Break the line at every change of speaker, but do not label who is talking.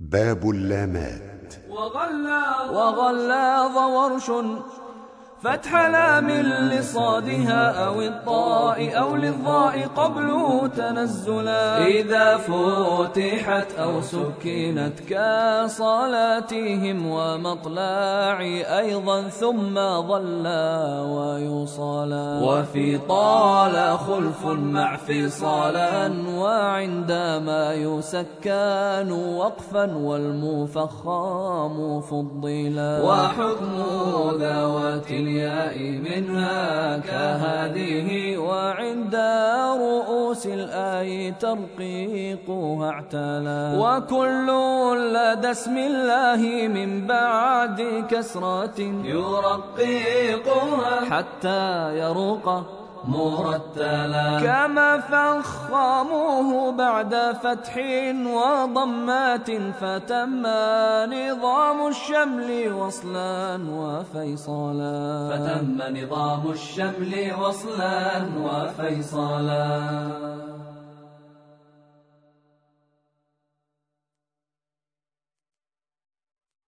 باب اللامات
وغلاظ ورش فتح لام لصادها أو الطاء أو للظاء قبله تنزلا إذا فتحت أو سكنت كصلاتهم ومطلع أيضا ثم ظلا ويصلى وفي طال خلف مع فصالا وعندما يسكان وقفا والمفخام فضلا وحكم ذوات الياء منها كهذه وعند رؤوس الآي ترقيقها اعتلى وكل لدى اسم الله من بعد كسرة يرقيقها حتى يرقى مرتلا كما فخموه بعد فتح وضمات فتما نظام الشمل وصلا وفيصلا فتم نظام الشمل وصلا وفيصلا